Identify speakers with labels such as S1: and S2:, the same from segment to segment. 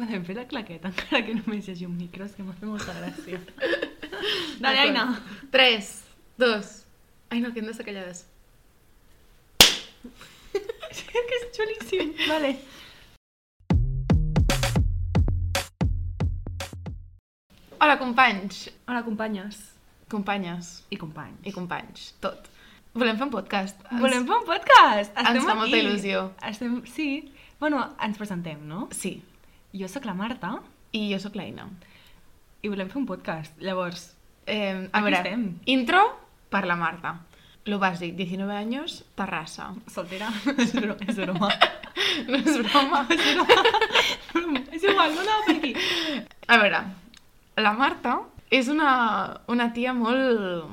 S1: Podem fer la claqueta, encara que només hi hagi un micro, és que m'ha fet molta gràcia. Dale, Aina.
S2: 3, 2... Ai, no, que hem de ser callades.
S1: que és xulíssim. Vale.
S2: Hola, companys,
S1: Hola, companyes.
S2: companyes
S1: I companys.
S2: i companys, tot. Volem fer un podcast. Ens-
S1: Volem fer un podcast! Estem
S2: Ens fa
S1: aquí.
S2: molta il·lusió.
S1: Estem... Sí. Bueno, ens presentem, no?
S2: Sí,
S1: Jo sóc la Marta
S2: i jo sóc l'Aina.
S1: i volem fer un podcast. Llavors,
S2: Eh, a
S1: Aquí
S2: veure,
S1: estem.
S2: intro per la Marta. Lo bàsic, 19 anys, Terrassa.
S1: soltera. és broma. És broma.
S2: No és broma.
S1: és igual, no anava per aquí.
S2: A veure, la Marta és una, una tia molt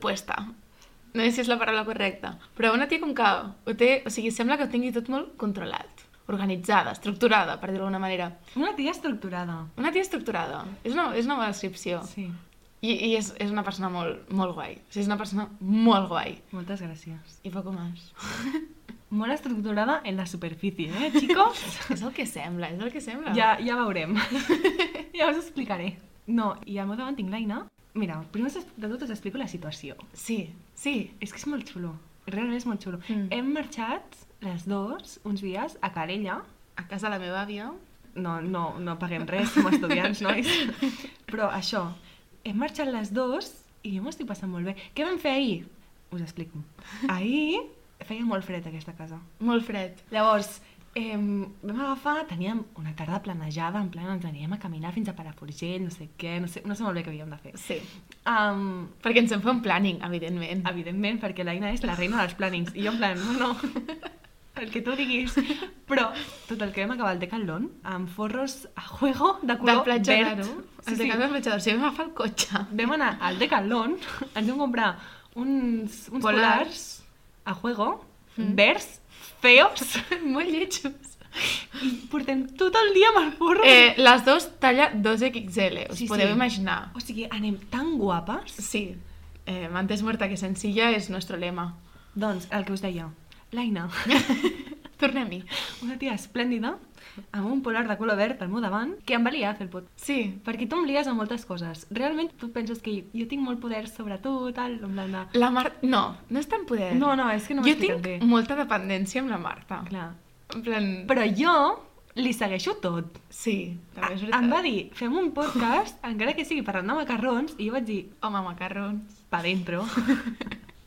S2: puesta. No sé si és la paraula correcta, però una tia com que ho té, o sigui, sembla que ho tingui tot molt controlat, organitzada, estructurada, per dir-ho d'alguna manera.
S1: Una tia estructurada.
S2: Una tia estructurada. És una, és una bona descripció.
S1: Sí.
S2: I, i és, és una persona molt, molt guai. O sigui, és una persona molt guai.
S1: Moltes gràcies.
S2: I poco más.
S1: Molt estructurada en la superfície, eh, chicos?
S2: és el que sembla, és el que sembla.
S1: Ja, ja veurem. ja us explicaré. No, i al meu davant tinc l'Aina. Mira, primer us- de tot us explico la situació.
S2: Sí, sí.
S1: És que és molt xulo. Realment és molt xulo. Mm.
S2: Mm.
S1: Hem marxat les dues uns dies a Calella.
S2: A casa de la meva àvia...
S1: No, no, no paguem res com a estudiants, nois. Però això, hem marxat les dues i jo m'estic passant molt bé. Què vam fer ahir? Us explico. Ahir feia molt fred a aquesta casa.
S2: Molt fred.
S1: Llavors, eh, vam agafar, teníem una tarda planejada, en plan, ens aniríem a caminar fins a Palafrugell, no sé què, no sé, no sé molt bé què havíem de fer.
S2: Sí.
S1: Um,
S2: Perquè ens en fa un planning, evidentment.
S1: evidentment, perquè l'Aina és la reina dels plànings, i jo en plan, no, no, el que tu diguis. Però, tot el que vam acabar al Decathlon, amb forros a juego de
S2: Del
S1: color
S2: platja
S1: verd.
S2: d'Aro.
S1: Sí,
S2: Ens
S1: sí.
S2: sí. del platja d'Aro. Si vam agafar el cotxe.
S1: Vam anar al Decathlon, ens vam comprar uns, uns
S2: Polars.
S1: polars a juego, mm. verds, feos,
S2: molt lletjos.
S1: i portem tot el dia amb el forro.
S2: Eh, les dos talla 2XL, us
S1: Sí,
S2: sí, podeu
S1: sí.
S2: imaginar.
S1: O sigui, anem tan guapes.
S2: Sí. Eh, antes muerta que sencilla és nostre lema.
S1: Doncs, el que us deia, l'Aina,
S2: Tornem-hi.
S1: una tia esplèndida, amb un polar de color verd al meu davant, que em valia fer el pot.
S2: Sí.
S1: Perquè tu em lies amb moltes coses. Realment tu penses que jo tinc molt poder sobre tu, tal, en plan de...
S2: La Marta... No, no és tan poder.
S1: No, no, és que no m'ho
S2: Eh,
S1: he
S2: jo tinc
S1: explicat bé.
S2: molta dependència amb la Marta.
S1: Clar.
S2: En plan...
S1: Però jo li segueixo tot.
S2: Sí, també
S1: A-
S2: és veritat.
S1: Em va dir, fem un podcast, encara que sigui parlant de macarrons, i jo vaig dir,
S2: Home, macarrons.
S1: pa dentro.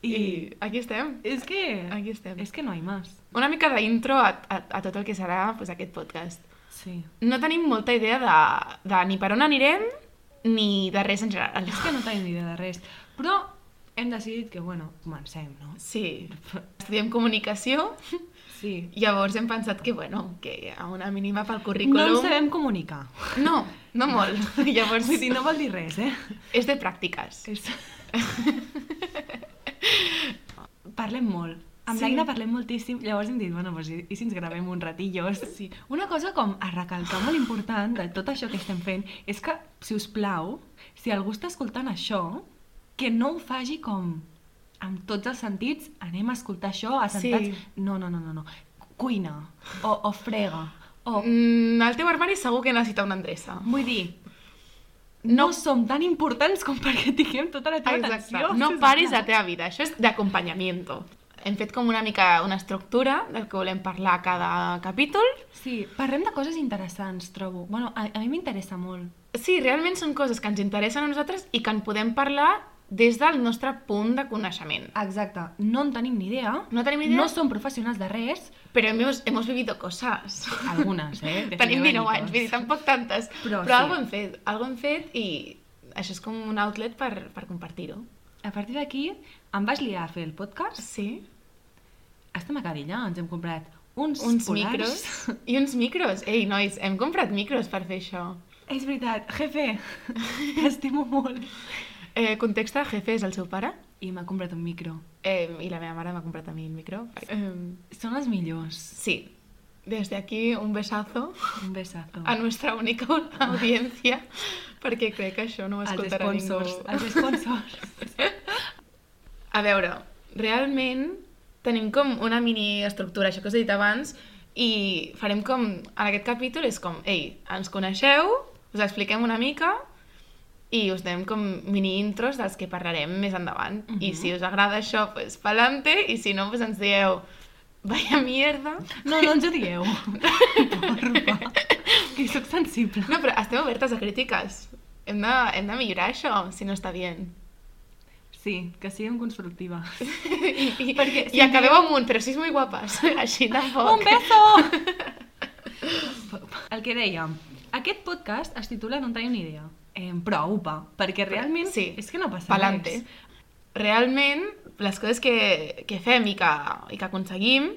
S2: I, I
S1: I...
S2: aquí estem.
S1: És que...
S2: Aquí estem.
S1: És que no hi més.
S2: Una mica d'intro a, a, a tot el que serà pues, aquest podcast.
S1: Sí.
S2: No tenim molta idea de, de ni per on anirem ni de res en general.
S1: És que no tenim ni idea de res. Però hem decidit que, bueno, comencem, no?
S2: Sí, estudiem comunicació,
S1: Sí.
S2: llavors hem pensat que, bueno, que a una mínima pel
S1: No
S2: currículum...
S1: ens sabem comunicar. Doncs
S2: No, no molt. Llavors,
S1: Vull dir, no vol dir res, eh?
S2: és de pràctiques.
S1: És... parlem molt. Amb
S2: Sí.
S1: sí. l'Aina parlem moltíssim, llavors hem dit, bueno, pues, i, i si ens gravem un ratillo? Sí. Una cosa com a recalcar molt important de tot això que estem fent és que, si us plau, si algú està escoltant això, que no ho faci com amb tots els sentits, anem a escoltar això assentats.
S2: Sí.
S1: Sí. No, no, no, no, no. Cuina, o, o frega, o...
S2: Mm, el teu armari segur que necessita una endreça.
S1: Vull dir, no, no som tan importants com perquè tinguem tota la teva
S2: Exacte.
S1: atenció.
S2: No
S1: sisplau.
S2: paris la teva vida. Això és d'acompanyamiento. Hem fet com una mica una estructura del que volem parlar a cada capítol.
S1: Sí, parlem de coses interessants, trobo. Bueno, a, a mi m'interessa molt.
S2: Sí, realment són coses que ens interessen a nosaltres i que en podem parlar des del nostre punt de coneixement.
S1: Exacte, no en tenim ni idea.
S2: No tenim idea,
S1: No som professionals de res.
S2: però hemos, hemos vivido cosas.
S1: Algunes, eh? De
S2: Tenim 19
S1: 19
S2: anys, vull dir, tampoc tantes.
S1: Però
S2: Però, però
S1: sí.
S2: algo hem fet, algo hem fet i això és com un outlet per, per compartir-ho.
S1: A partir d'aquí, em vas liar a fer el podcast.
S2: Sí.
S1: Estem a Cadilla, ens hem comprat uns,
S2: Uns
S1: polars.
S2: micros. I uns micros. Ei, nois, hem comprat micros per fer això.
S1: És veritat, jefe, t'estimo molt.
S2: Eh, context de jefe és el seu pare.
S1: I m'ha comprat un micro.
S2: Eh, I la meva mare m'ha comprat a mi el micro. Eh,
S1: Són els millors.
S2: sí. Des d'aquí, un besazo
S1: Un besazo.
S2: a nuestra única audiència, perquè crec que això no ho
S1: Els
S2: escoltarà ningú.
S1: sponsors. Els sponsors.
S2: A veure, realment tenim com una mini estructura, això que us he dit abans, I farem com, en aquest capítol és com, ei, ens coneixeu, us expliquem una mica i us donem com mini intros dels que parlarem més endavant. Uh -huh. I si us agrada això, pues pa'lante, i si no, pues ens dieu, vaya mierda.
S1: No, no ens ho digueu. Porfa. Que sóc sensible.
S2: No, però estem obertes a crítiques. Hem de, hem de millorar això, si no està bé.
S1: Sí, que siguem constructives.
S2: I, i,
S1: Perquè si
S2: i acabeu amb un, però si és molt guapes, així tampoc.
S1: Un beso! El que dèiem, aquest podcast es titula No en teniu ni idea. Eh, però upa, perquè realment
S2: Sí.
S1: és que no passa
S2: Pa'lante.
S1: res.
S2: Realment, les coses que, que fem i que, i que aconseguim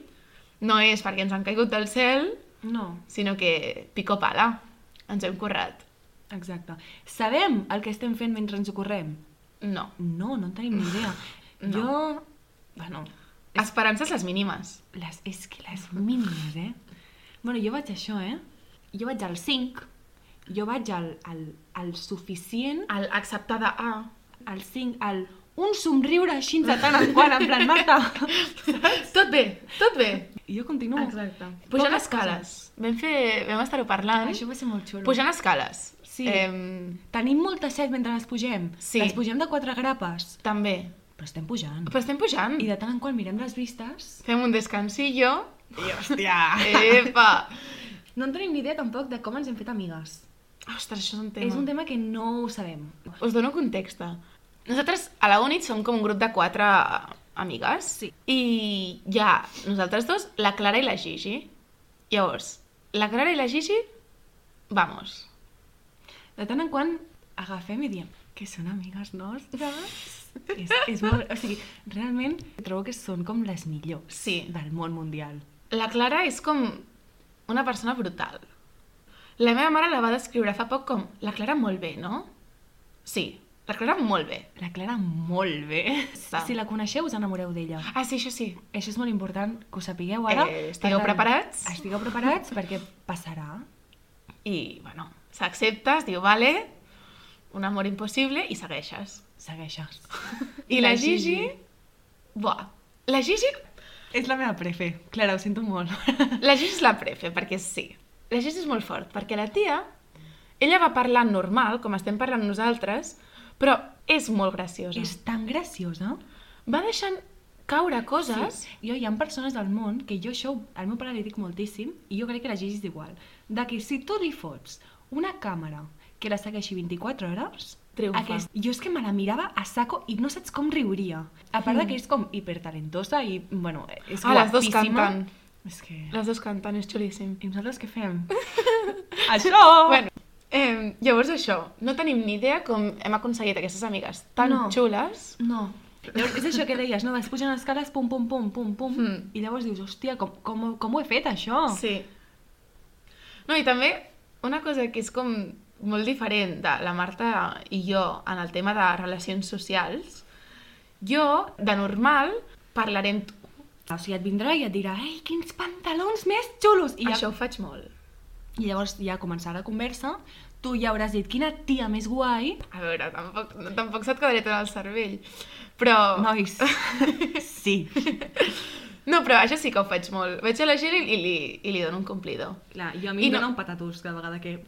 S2: no és perquè ens han caigut del cel,
S1: No,
S2: sinó que pico pala, ens hem currat.
S1: exacte. Sabem el que estem fent mentre ens ho correm?
S2: No.
S1: No, no en tenim ni idea.
S2: No.
S1: Jo... Bueno,
S2: Esperances les mínimes.
S1: les, és que les mínimes, eh? Bueno, jo vaig a això, eh? Jo vaig al 5, jo vaig al, al, al suficient,
S2: El acceptar de A.
S1: al 5, al un somriure així de tant en quant, en plan, Marta!
S2: Tot bé, tot bé.
S1: Jo continuo...
S2: Pujant
S1: Poques
S2: escales. Vam, fer, vam estar-ho parlant.
S1: Això va ser molt xulo.
S2: Pujant escales.
S1: Sí.
S2: Em,
S1: Tenim molta set mentre les pugem.
S2: Sí.
S1: Les pugem de quatre grapes.
S2: també.
S1: Però estem pujant.
S2: Però estem pujant.
S1: I de tant en quant mirem les vistes...
S2: Fem un descansillo.
S1: I hòstia!
S2: Epa!
S1: No en tenim ni idea tampoc de com ens hem fet amigues.
S2: Ostres, això és un tema.
S1: És un tema que no ho sabem.
S2: Us dono context. Nosaltres a la UNIT som com un grup de quatre eh, amigues.
S1: Sí.
S2: I hi ha nosaltres dos, la Clara i la Gigi. Llavors, la Clara i la Gigi, vamos.
S1: De tant en quant agafem i diem que són amigues nostres. és, és molt... O sigui, realment trobo que són com les millors
S2: Sí.
S1: del món mundial.
S2: La Clara és com una persona brutal. La meva mare la va descriure fa poc com la Clara molt bé, no? Sí, la Clara molt bé.
S1: La Clara molt bé.
S2: Està.
S1: Si la coneixeu, us enamoreu d'ella.
S2: Ah, sí, això sí.
S1: Això és molt important que ho sapigueu ara.
S2: Eh, estigueu
S1: Per tant,
S2: preparats?
S1: Estigueu preparats perquè passarà.
S2: I, bueno, s'accepta, es diu, vale, un amor impossible i segueixes.
S1: Segueixes.
S2: I la Gigi... Buah, la Gigi...
S1: És la meva prefe. Clara, ho sento molt.
S2: La Gigi és la prefe, perquè sí. La Gigi és molt fort, perquè la tia... Ella va parlar normal, com estem parlant nosaltres, però és molt graciosa.
S1: és tan graciosa.
S2: Va deixant caure coses... Sí.
S1: Jo hi ha persones del món que jo això al meu pare li dic moltíssim i jo crec que la Gigi és igual. De que si tu li fots una càmera que la segueixi 24 hores,
S2: Triomfa.
S1: jo és que me la mirava a saco i no saps com riuria. A part de que és com hipertalentosa i, bueno, és
S2: Mm. Ah, les dos
S1: guapíssima.
S2: canten.
S1: És que...
S2: Les dues canten, és xulíssim.
S1: I nosaltres què fem? això!
S2: Bueno, eh, llavors això, no tenim ni idea com hem aconseguit aquestes amigues tan
S1: No.
S2: xules.
S1: No. Llavors, és això que deies, no? Vas pujant escales, pum, pum, pum, pum, pum,
S2: Mm.
S1: i llavors dius, hòstia, com, com, com ho he fet, això?
S2: Sí. No, i també una cosa que és com molt diferent de la Marta i jo en el tema de relacions socials, jo, de normal, parlaré amb tu.
S1: O sigui, et vindrà i et dirà, ei, quins pantalons més xulos! I,
S2: I
S1: ja,
S2: això ho faig molt.
S1: I llavors ja començarà la conversa, tu ja hauràs dit, quina tia més guai!
S2: A veure, tampoc, tampoc se't quedaré tot al cervell. Però...
S1: Nois, sí.
S2: No, però això sí que ho faig molt. Vaig a la gent i, i, li, i li dono un complidor.
S1: Clar, jo a
S2: mi I em no- dóna
S1: un patatús cada vegada que...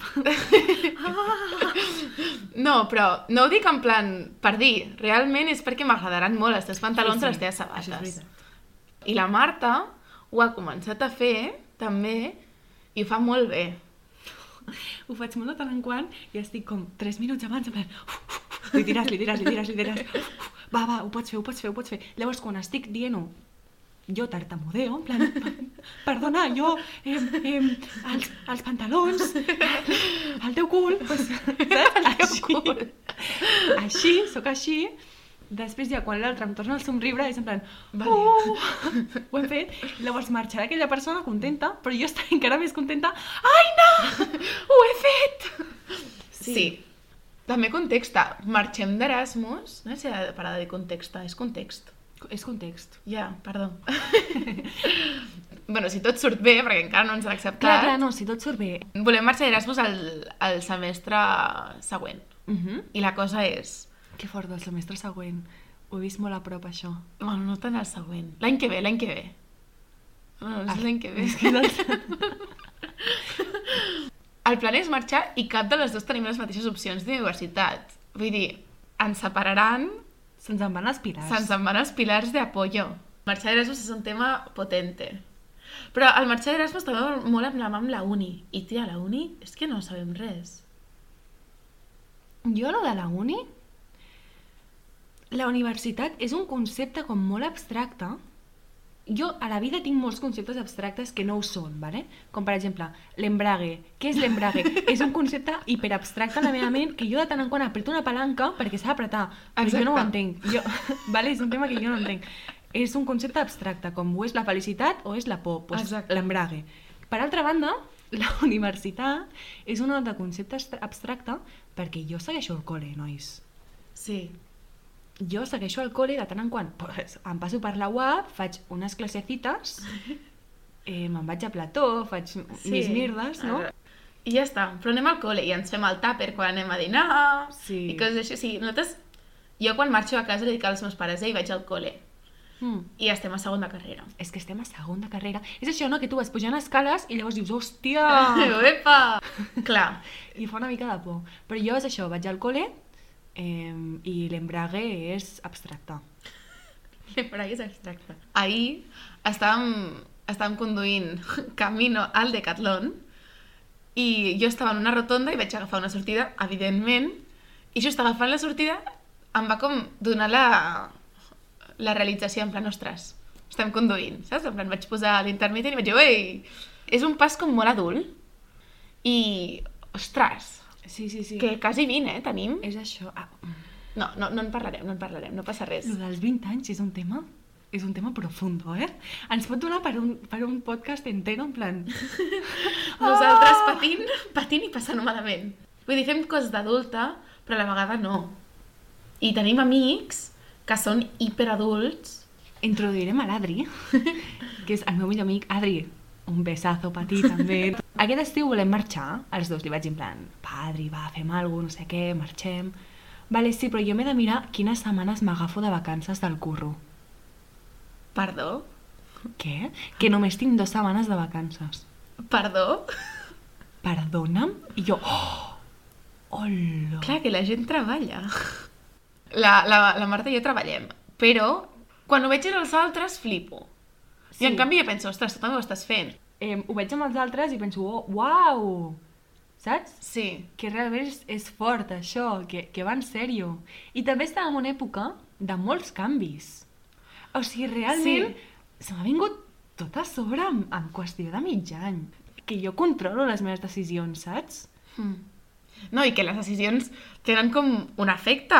S2: No, però no ho dic en plan per dir. Realment és perquè m'agradaran molt els teus pantalons sí, sí. i les teves sabates.
S1: Això és veritat.
S2: I la Marta ho ha començat a fer, també, i ho fa molt bé.
S1: Ho faig molt de tant en quant i estic com 3 minuts abans, en plan... "Uf, uf, Li diràs, li diràs, li diràs, li diràs... uf, uf, Va, va, ho pots fer, ho pots fer, ho pots fer. Llavors, quan estic dient-ho, jo tartamudeo, en plan, perdona, jo, em, em, els, els pantalons, el teu cul, pues, saps? El
S2: cul.
S1: Així, sóc així, després ja quan l'altre em torna el somriure és en plan,
S2: Vale.
S1: vale. uh, ho hem fet, llavors marxarà aquella persona contenta, però jo estaré encara més contenta, ai no, ho he fet!
S2: Sí. sí. També contexta. Marxem d'Erasmus. No sé si ha de parar de dir contexta, és context.
S1: És context.
S2: Ja, perdó. bueno, si tot surt bé, perquè encara no ens han acceptat.
S1: Clar, clar, no, si tot surt bé.
S2: Volem marxar d'Erasmus al, al semestre següent.
S1: Uh
S2: I la cosa és...
S1: Que fort del semestre següent. Ho he vist molt a prop, això.
S2: Bueno, no tant el següent. L'any que ve, l'any que ve. No,
S1: Ah.
S2: és l'any que ve.
S1: És que no ens-
S2: El plan és marxar i cap de les dues tenim les mateixes opcions d'universitat. Vull dir, ens separaran,
S1: Se'ns en van les pilars.
S2: se'ns en van els pilars d'apoyo. Marxar d'Erasmus és un tema potente. Però el marxar d'Erasmus també va molt amb la mà amb la uni. I tia, la uni és que no sabem res.
S1: Jo, lo de la uni... La universitat és un concepte com molt abstracte. Jo a la vida tinc molts conceptes abstractes que no ho són, ¿vale? com per exemple l'embrague. Què és l'embrague? és un concepte hiperabstracte a la meva ment que jo de tant en quant apreto una palanca perquè s'ha d'apretar, però jo no ho
S2: Exacte.
S1: entenc. Jo... vale? És un tema que jo no entenc. És un concepte abstracte, com ho és la felicitat o és la por, pues,
S2: Exacte.
S1: l'embrague. Per altra banda, la universitat és un altre concepte abstra- abstracte perquè jo segueixo el col·le, nois.
S2: Sí.
S1: Jo segueixo el col·le de tant en quant. Pues, em passo per la UAP, faig unes classecites, eh, me'n vaig a plató, faig sí. mis mirdes, no?
S2: I ja està. Però anem al col·le i ens fem el tàper quan anem a dinar
S1: Sí.
S2: i coses així. O sigui, nosaltres... Jo quan marxo a casa li dic als meus pares, ei, vaig al col·le.
S1: Mm.
S2: I estem a segona carrera.
S1: És que estem a segon de carrera. És això, no?, que tu vas pujant escales i llavors dius, hòstia!
S2: Ah. Epa! Clar,
S1: I fa una mica de por. Però jo és això, vaig al col·le eh, i l'embrague és abstracte.
S2: l'embrague és abstracte. Ahir estàvem, estàvem conduint camino al Decathlon i jo estava en una rotonda i vaig agafar una sortida, evidentment, i just agafant la sortida em va com donar la, la realització, en plan, ostres, estem conduint, saps? En plan, vaig posar l'intermitent i vaig dir, ei, és un pas com molt adult i, ostres,
S1: Sí, sí, sí.
S2: que quasi 20, eh, tenim.
S1: És això. Ah,
S2: No, no, no en parlarem, no en parlarem, no passa res.
S1: Lo dels 20 anys és un tema és un tema profundo, eh? Ens pot donar per un, per un podcast entero, en plan...
S2: Nosaltres
S1: Ah!
S2: patint, patint i passant malament. Vull dir, fem coses d'adulta, però a la vegada no. I tenim amics que són hiperadults.
S1: Introduirem a l'Adri, que és el meu millor amic. Adri, un besazo per ti, també. Aquest estiu volem marxar, els dos. Li vaig dir en plan, va, Adri, va, fem alguna no sé què, marxem... Vale, sí, però jo m'he de mirar quines setmanes m'agafo de vacances del curro.
S2: Perdó?
S1: Què? Que només tinc dues setmanes de vacances.
S2: Perdó?
S1: Perdona'm? I jo... Oh! Hola!
S2: Clar, que la gent treballa. La, la, la Marta i jo treballem, però quan ho veig en els altres flipo. Sí. I en canvi jo penso, ostres, tu també ho estàs fent.
S1: eh, ho veig amb els altres i penso, oh, uau, saps?
S2: Sí.
S1: Que realment és, és fort això, que, que va en sèrio. I també estàvem en una època de molts canvis. O sigui, realment, sí. se m'ha vingut tot a sobre en, en qüestió de mig any. Que jo controlo les meves decisions, saps? Hmm.
S2: Mm. No, i que les decisions tenen com un efecte.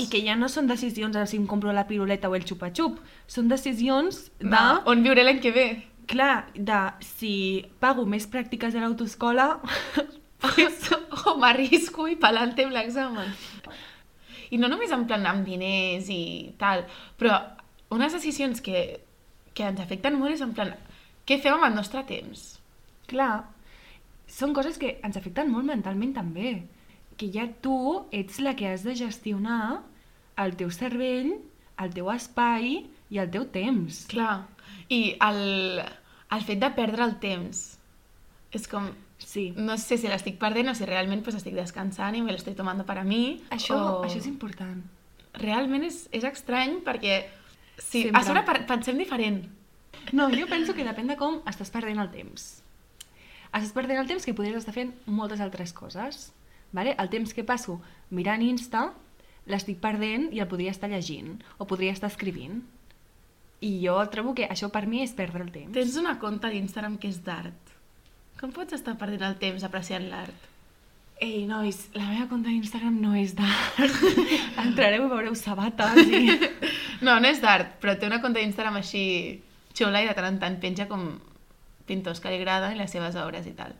S1: I que ja no són decisions de si em compro la piruleta o el xupa-xup. Són decisions de...
S2: On viuré l'any que ve.
S1: Clar, de si pago més pràctiques a l'autoescola...
S2: pues, o m'arrisco i pelante amb l'examen. I no només en plan amb diners i tal, però unes decisions que, que ens afecten molt és en plan què fem amb el nostre temps?
S1: Clar, són coses que ens afecten molt mentalment també. Que ja tu ets la que has de gestionar el teu cervell, el teu espai i el teu temps.
S2: Clar. I el, el fet de perdre el temps. És com,
S1: Sí.
S2: no sé si l'estic perdent o si realment pues, estic descansant i me l'estic tomant per a mi.
S1: Això,
S2: o...
S1: oh. això és important.
S2: Realment és, és estrany perquè... Sí,
S1: Sempre.
S2: a sobre per- pensem diferent.
S1: No, jo penso que depèn de com estàs perdent el temps. Estàs perdent el temps que podries estar fent moltes altres coses. Vale? El temps que passo mirant Insta l'estic perdent i el podria estar llegint o podria estar escrivint. I jo trobo que això per mi és perdre el temps.
S2: Tens una conta d'Instagram que és d'art. Com pots estar perdent el temps apreciant l'art?
S1: Ei, nois, la meva compte d'Instagram no és d'art. Entrareu i veureu sabates i...
S2: No, no és d'art, però té una conta d'Instagram així xula i de tant en tant penja com pintors que li agraden i les seves obres i tal.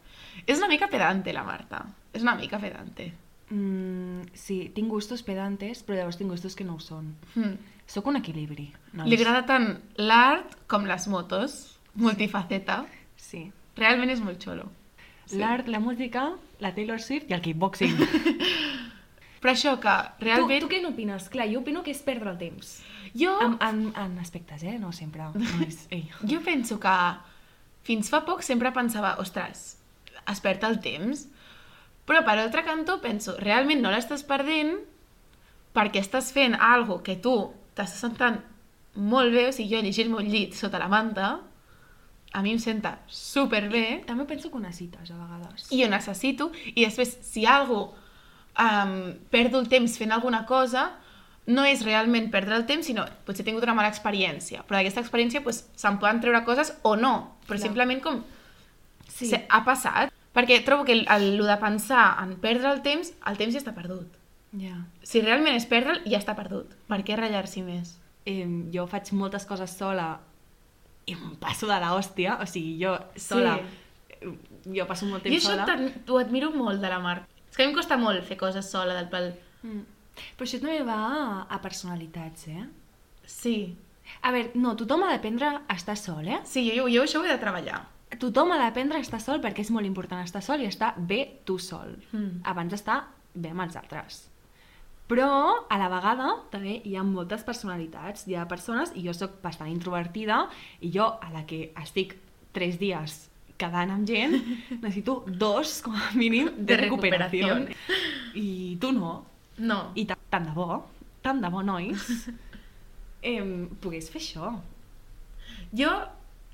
S2: És una mica pedante, la Marta. És una mica pedante.
S1: Mm, sí, tinc gustos pedantes, però llavors tinc gustos que no ho són.
S2: Mm.
S1: Sóc un equilibri, nois.
S2: Li agrada tant l'art com les motos, multifaceta.
S1: Sí.
S2: Realment és molt xulo. Sí.
S1: L'art, la música, la Taylor Swift i el kickboxing.
S2: Però això que
S1: tu,
S2: realment...
S1: tu què n'opines? Clar, jo opino que és perdre el temps.
S2: Jo...
S1: En, en, en aspectes, eh? No sempre. No és... Ei.
S2: Jo penso que Fins fa poc sempre pensava, ostres, es perd el temps. Però per altre cantó penso, realment no l'estàs perdent perquè estàs fent algo que tu t'estàs sentant molt bé, o sigui, jo llegir-me un llit sota la manta, a mi em senta superbé
S1: També penso que ho necessites, a vegades.
S2: i ho necessito, i després, si algo um, perdo el temps fent alguna cosa, no és realment perdre el temps, sinó potser he tingut una mala experiència, però d'aquesta experiència pues, se'n poden treure coses o no,
S1: Clar.
S2: però Clar. simplement com
S1: Sí.
S2: sí. se, ha passat, perquè trobo que el, el, lo de pensar en perdre el temps, el temps ja està perdut.
S1: Ja.
S2: Si realment és perdre'l, ja està perdut. Per què ratllar-s'hi més?
S1: Eh, jo faig moltes coses sola i em passo de l'hòstia, o sigui, jo sola... Sí. eh, Jo passo molt
S2: Jo
S1: temps
S2: això
S1: sola.
S2: t'ad- t'ho admiro molt de la Marta. És que a mi em costa molt fer coses sola del pal...
S1: Mm. Però això també va a personalitats, eh?
S2: Sí,
S1: A veure, no, tothom ha d'aprendre a estar sol, eh?
S2: sí, jo, jo això ho he de treballar.
S1: Tothom ha d'aprendre a estar sol perquè és molt important estar sol i estar bé tu sol.
S2: Mm.
S1: Abans d'estar bé amb els altres. Però, a la vegada, també hi ha moltes personalitats. Hi ha persones, i jo sóc bastant introvertida, i jo, a la que estic tres dies quedant amb gent, necessito dos, com a mínim, de,
S2: De
S1: recuperació.
S2: recuperación.
S1: I tu no.
S2: No.
S1: I ta- tant de bo, tant de bo, nois, em, pogués fer això.
S2: Jo,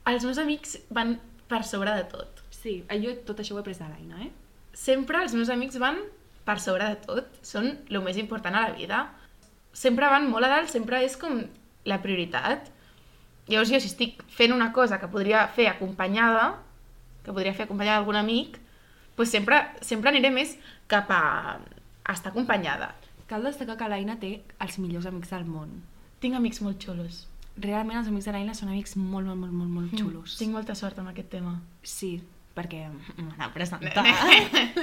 S2: els meus amics van per sobre de tot.
S1: Sí, eh, jo tot això ho he pres de l'Aina, eh?
S2: Sempre els meus amics van per sobre de tot. Són el més important a la vida. Sempre van molt a dalt, sempre és com la prioritat. Llavors jo, si estic fent una cosa que podria fer acompanyada, que podria fer acompanyada d'algun amic, doncs sempre, sempre aniré més cap a estar acompanyada.
S1: Cal destacar que l'Aina té els millors amics del món.
S2: Tinc amics molt xulos.
S1: Realment els amics de l'Aina són amics molt, molt, molt, molt, molt xulos.
S2: Mm. Tinc molta sort amb aquest tema.
S1: Sí, perquè m'han presentat.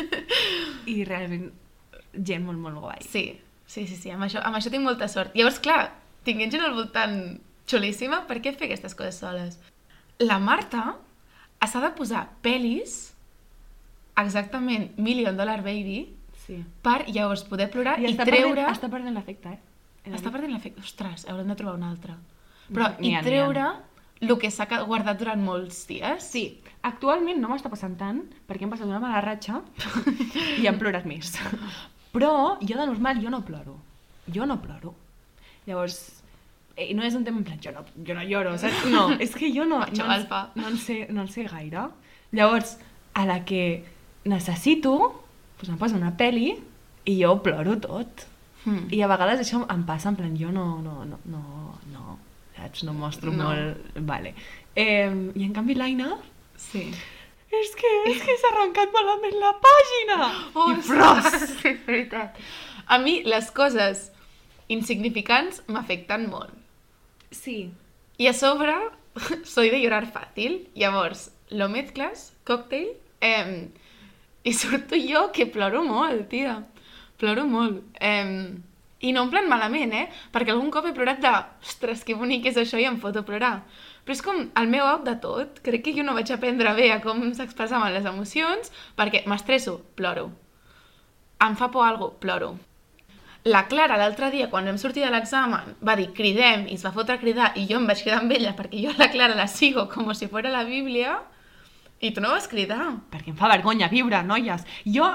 S1: I realment gent molt, molt guai.
S2: Sí, sí, sí, sí amb, això, amb això tinc molta sort. Llavors, clar, tinguent gent al voltant xulíssima, per què fer aquestes coses soles? La Marta s'ha de posar pel·lis, exactament Million Dollar Baby,
S1: Sí.
S2: per llavors poder plorar i, i
S1: està
S2: treure...
S1: Perdent, està perdent l'efecte, eh?
S2: està perdent l'efecte. Ostres, haurem de trobar una altra. Però
S1: N'hi ha, n'hi
S2: i
S1: ha.
S2: treure el que s'ha ca- guardat durant molts dies.
S1: Sí, actualment no m'està passant tant perquè hem passat una mala ratxa i hem plorat més. Però jo de normal jo no ploro. Jo no ploro. Llavors, eh, no és un tema en plan, jo no, jo no lloro, saps? No, és que jo no,
S2: Macho
S1: no, en,
S2: alfa.
S1: no, en sé, no en sé gaire. Llavors, a la que necessito, doncs em poso una peli i jo ploro tot.
S2: Hmm.
S1: I a vegades això em passa, en plan, jo no, no, no, no, no, saps? No mostro
S2: No.
S1: molt... Vale. Eh, I en canvi l'Aina,
S2: sí.
S1: és que, és que s'ha arrencat malament la pàgina! I pros!
S2: Sí, és veritat. A mi les coses insignificants m'afecten molt.
S1: Sí,
S2: I a sobre, soy de llorar fàcil. Llavors, lo mezclas, còctel, eh, i surto jo que ploro molt, tia. Ploro molt. Eh, I no en plan malament, eh? Perquè algun cop he plorat de, ostres, que bonic és això i em foto a plorar. Però és com el meu out de tot. Crec que jo no vaig aprendre bé a com s'expressaven les emocions perquè m'estresso, ploro. Em fa por algo, ploro. La Clara, l'altre dia, quan vam sortir de l'examen, va dir cridem i es va fotre a cridar i jo em vaig cridar amb ella perquè jo a la Clara la sigo com si fos la Bíblia i tu no vas cridar.
S1: perquè em fa vergonya viure, noies. Jo,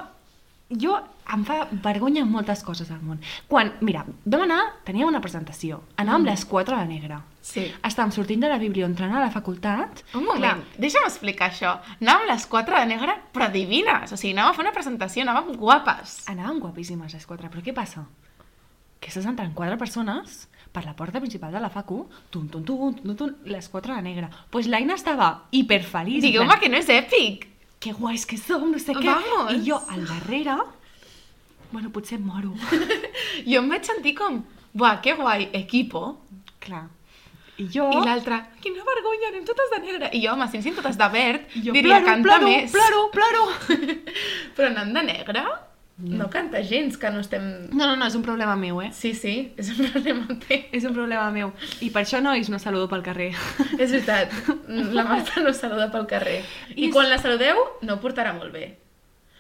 S1: jo em fa vergonya moltes coses al món. Quan, mira, vam anar, teníem una presentació, anàvem mm. les 4 a la negra.
S2: Sí.
S1: Estàvem sortint de la biblio, entrant a la facultat...
S2: Un moment, Clar. deixa'm explicar això. Anàvem les quatre de negre, però divines. O sigui, anàvem a fer una presentació, anàvem guapes.
S1: Anàvem guapíssimes les quatre, però què passa? Que estàs entrant quatre persones per la porta principal de la facu, tum, tum, tum, tum, tum, les quatre a la negra. Doncs pues l'Aina estava hiperfeliç. en
S2: Digueu-me
S1: plan,
S2: que no és èpic.
S1: que guais que som, no sé què.
S2: Vamos.
S1: I jo al darrere, bueno, potser em moro.
S2: Jo em vaig sentir com, buah, que guai, equipo.
S1: Clar. I jo...
S2: I l'altra, quina vergonya, anem totes de negre. I jo, home, si ens totes de verd,
S1: i jo
S2: diria,
S1: ploro,
S2: canta
S1: ploro,
S2: més.
S1: ploro, ploro.
S2: Però anant de negre, no canta gens, que no estem...
S1: No, no, no, és un problema meu, eh?
S2: Sí, sí, és un problema teu.
S1: És un problema meu. I per això, nois, no saludo pel carrer.
S2: És veritat, la Marta no saluda pel carrer. I,
S1: I
S2: I quan la saludeu, no ho portarà molt bé.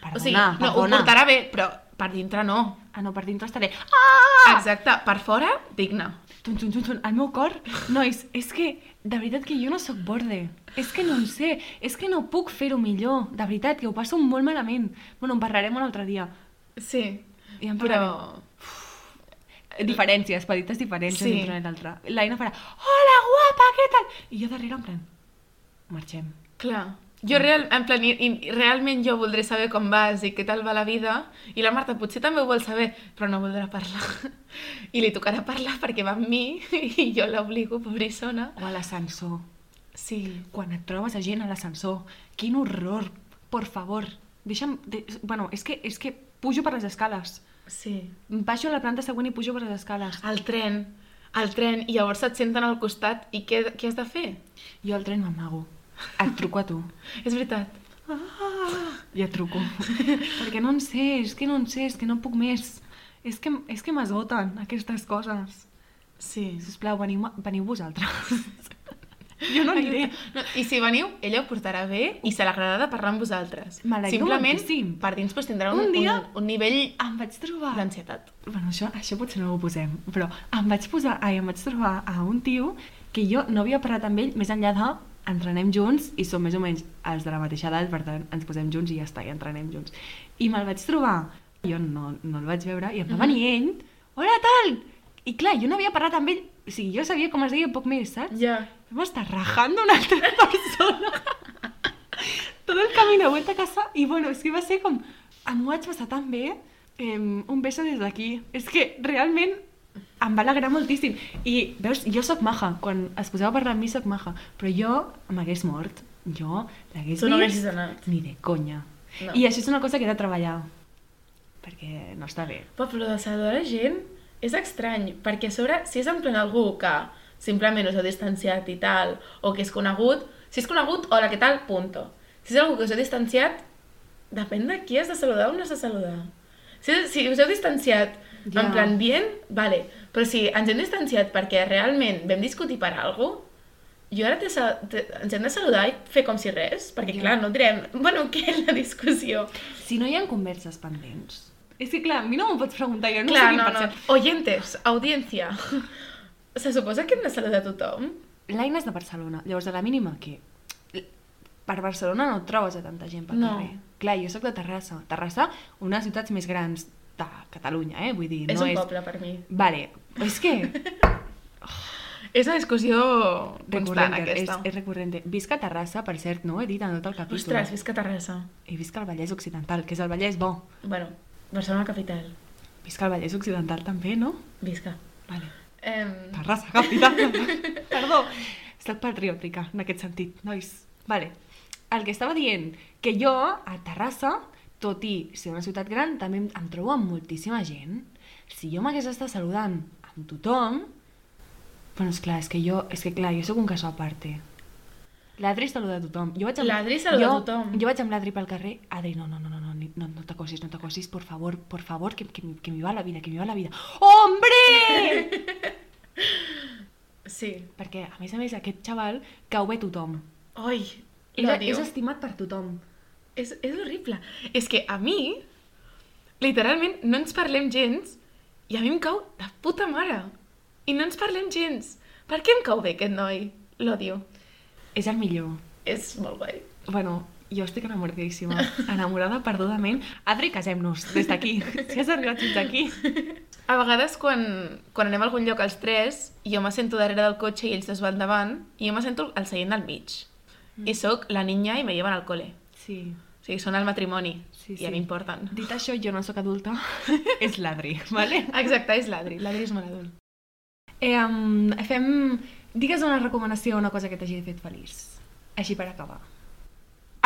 S1: Perdona,
S2: o sigui, no, ho
S1: perdona.
S2: portarà bé, però per dintre no.
S1: Ah, no, per dintre estaré... Ah!
S2: Exacte, per fora, digna.
S1: tun, tun, tun, tun, el meu cor, nois, és que de veritat que jo no sóc borde, és que no en sé, és que no puc fer-ho millor, de veritat, que ho passo molt malament. Bueno, en parlarem un altre dia.
S2: Sí,
S1: Ja en parlarem.
S2: però...
S1: Eh, Diferències, petites diferències
S2: Sí.
S1: sí. entre una i l'altra. L'Aina farà, hola, guapa, què tal? I jo darrere en plan, marxem.
S2: Clar. Jo real, en plan, i, i realment jo voldré saber com vas i què tal va la vida i la Marta potser també ho vol saber, però no voldrà parlar. I li tocarà parlar perquè va amb mi i jo l'obligo, pobrissona.
S1: O a l'ascensor.
S2: Sí.
S1: Quan et trobes a gent a l'ascensor, quin horror, por favor. Deixa'm... De... Bueno, és que, és que pujo per les escales.
S2: Sí.
S1: Baixo a la planta següent i pujo per les escales. Ah.
S2: El tren, el tren, i llavors et senten al costat i què, què has de fer?
S1: Jo al tren m'amago. Et truco a tu.
S2: És veritat.
S1: Ja et truco. Perquè no en sé, és que no en sé, és que no puc més. És que, és que m'esgoten aquestes coses.
S2: Sí.
S1: Sisplau, veniu, veniu vosaltres. Jo no aniré.
S2: No, I si veniu, ella ho portarà bé i se l'agradarà de parlar amb vosaltres.
S1: M'alegro
S2: Simplement,
S1: moltíssim.
S2: per dins pues, tindrà un,
S1: Un dia- Ah.
S2: un, un nivell
S1: Em vaig trobar...
S2: d'ansietat.
S1: Bueno, això, això potser no ho posem, però em vaig posar... Ai, em vaig trobar a un tio que jo no havia parlat amb ell més enllà de entrenem junts i som més o menys els de la mateixa edat, per tant, ens posem junts i ja està, i entrenem junts. I me'l vaig trobar, jo no, no el vaig veure, i em va
S2: Mhm.
S1: venir ell, hola, tal! I clar, jo no havia parlat amb ell, o sigui, jo sabia com es deia poc més, saps?
S2: Ja.
S1: Vam estar rajando una altra persona. Todo el camino de vuelta a casa. Y bueno, es que va ser com... Em ho vaig passar tan bé. Eh, un beso des d'aquí. És que realment em va alegrar moltíssim. I veus, jo sóc maja. Quan es posava a parlar amb mi sóc maja. Però jo m'hagués mort. Jo l'hagués vist
S2: anat.
S1: ni de conya.
S2: No.
S1: No. I això és una cosa que he de treballar. Perquè no està bé.
S2: Però, però de saludar la gent és estrany, perquè a sobre, si és en plan algú que simplement us heu distanciat i tal, o que és conegut, si és conegut, hola, què tal, punto. Si és algú que us heu distanciat, depèn de qui has de saludar o no has de saludar. Si, si us heu distanciat yeah. en
S1: Ja.
S2: plan bien, vale, però si ens hem distanciat perquè realment vam discutir per alguna jo ara te, sa- te, ens hem de saludar i fer com si res, perquè
S1: Ja.
S2: yeah. clar, no direm, bueno, què és la discussió?
S1: Si no hi ha converses pendents... És que clar, a mi no m'ho pots preguntar, jo no
S2: Clar,
S1: sé quin
S2: no,
S1: per
S2: no.
S1: cent.
S2: Oyentes, audiència. Se suposa que hem de saludar tothom?
S1: L'Aina és de Barcelona, llavors a la mínima que... Per Barcelona no et trobes a tanta gent pel
S2: No.
S1: no. carrer. Clar, jo sóc de Terrassa. Terrassa, una de les ciutats més grans de Catalunya, eh? Vull dir,
S2: No és
S1: no
S2: un
S1: és...
S2: poble per mi.
S1: Vale, és que... Doncs
S2: És una discussió constant,
S1: recurrent, és,
S2: Doncs aquesta.
S1: és recurrent. Visca Terrassa, per cert, no ho he dit en tot el capítol.
S2: Ostres, visca Terrassa.
S1: I visca el Vallès Occidental, que és el Vallès bo.
S2: Bueno, Barcelona capital.
S1: Visca el Vallès Occidental també, no?
S2: Visca.
S1: Vale.
S2: Em...
S1: Terrassa, capital. Perdó. Soc patriòtica, en aquest sentit, nois. Vale. El que estava dient, que jo, a Terrassa, tot i ser una ciutat gran, també em, em trobo amb moltíssima gent. Si jo m'hagués estat saludant amb tothom... Bueno, és clar, és que jo, és que clar, jo sóc un caso a parte. L'Adri saluda a tothom. Jo vaig
S2: L'Adri saluda
S1: jo,
S2: a tothom.
S1: Jo vaig amb l'Adri pel carrer. Adri, no, no, no, no, no, ni- no, no t'acosis, no t'acosis, por favor, por favor, que, que, que m'hi va la vida, que m'hi va la vida. Hombre!
S2: Sí.
S1: Perquè, a més a més, aquest xaval cau bé tothom.
S2: Oi,
S1: És,
S2: l'odio.
S1: és estimat per tothom.
S2: És, és horrible. És que a mi, literalment, no ens parlem gens i a mi em cau de puta mare. I no ens parlem gens. Per què em cau bé aquest noi? L'odio.
S1: És el millor.
S2: És molt guai.
S1: Bueno, jo estic enamoradíssima. Enamorada perdudament. Adri, casem-nos des d'aquí. Si has arribat fins aquí.
S2: A vegades quan, quan anem a algun lloc els tres, jo me sento darrere del cotxe i ells dos van davant, i jo me sento al seient del mig.
S1: Mm.
S2: I sóc la niña i me lleven al cole.
S1: Sí.
S2: O sigui, són al matrimoni
S1: Sí,
S2: i a
S1: sí.
S2: mi importen.
S1: Dit això, jo no sóc adulta. és l'Adri, vale?
S2: Exacte, és l'Adri. L'Adri és molt adult.
S1: Eh, um, fem... Digues una recomanació una cosa que t'hagi fet feliç. Així per acabar.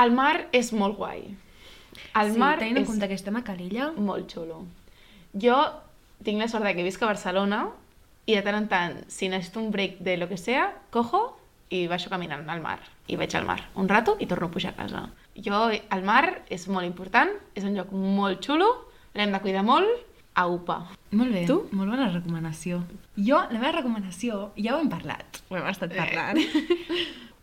S2: El mar és molt guai. El
S1: sí,
S2: mar
S1: tenint en
S2: és
S1: compte que estem a Calella...
S2: molt xulo. Jo tinc la sort de que visc a Barcelona i de tant en tant, si necessito un break de lo que sea, cojo i baixo caminant al mar. I vaig al mar un rato i torno a pujar a casa. Jo, el mar és molt important, és un lloc molt xulo, l'hem de cuidar molt, a UPA.
S1: Molt bé.
S2: Tu?
S1: Molt bona recomanació. Jo, la meva recomanació, ja ho hem parlat. Ho hem estat parlant.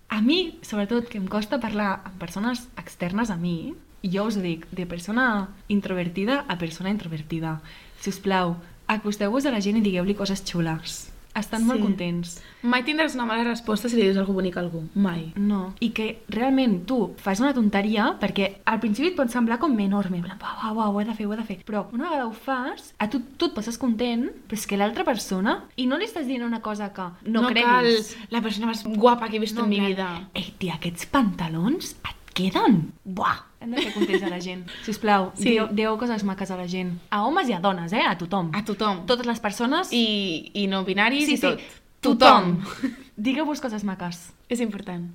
S1: A mi, sobretot, que em costa parlar amb persones externes a mi, jo us ho dic, de persona introvertida a persona introvertida. Si us plau, acosteu-vos a la gent i digueu-li coses xules. estan sí. molt
S2: Sí.
S1: contents.
S2: Mai tindràs una mala resposta si li dius alguna bonic a algú. Mai.
S1: No. I que realment tu fas una tonteria perquè al principi et pot semblar com enorme, en plan, uau, uau, ho he de fer, ho he de fer. Però una vegada ho fas, a tu, tu et poses content, però és que l'altra persona, i no li estàs dient una cosa que no, creguis.
S2: cal la persona més guapa que he vist no, en mi
S1: en plan,
S2: vida.
S1: Ei, tia, aquests pantalons et queden? Buah! Hem de fer contents a la gent. Sisplau, sí.
S2: Sí.
S1: dieu, dieu coses maques a la gent. A homes i a dones, eh? A tothom.
S2: A tothom.
S1: Totes les persones.
S2: I, i no binaris
S1: sí,
S2: i tot.
S1: Sí. Tothom. Digueu-vos coses maques.
S2: És important.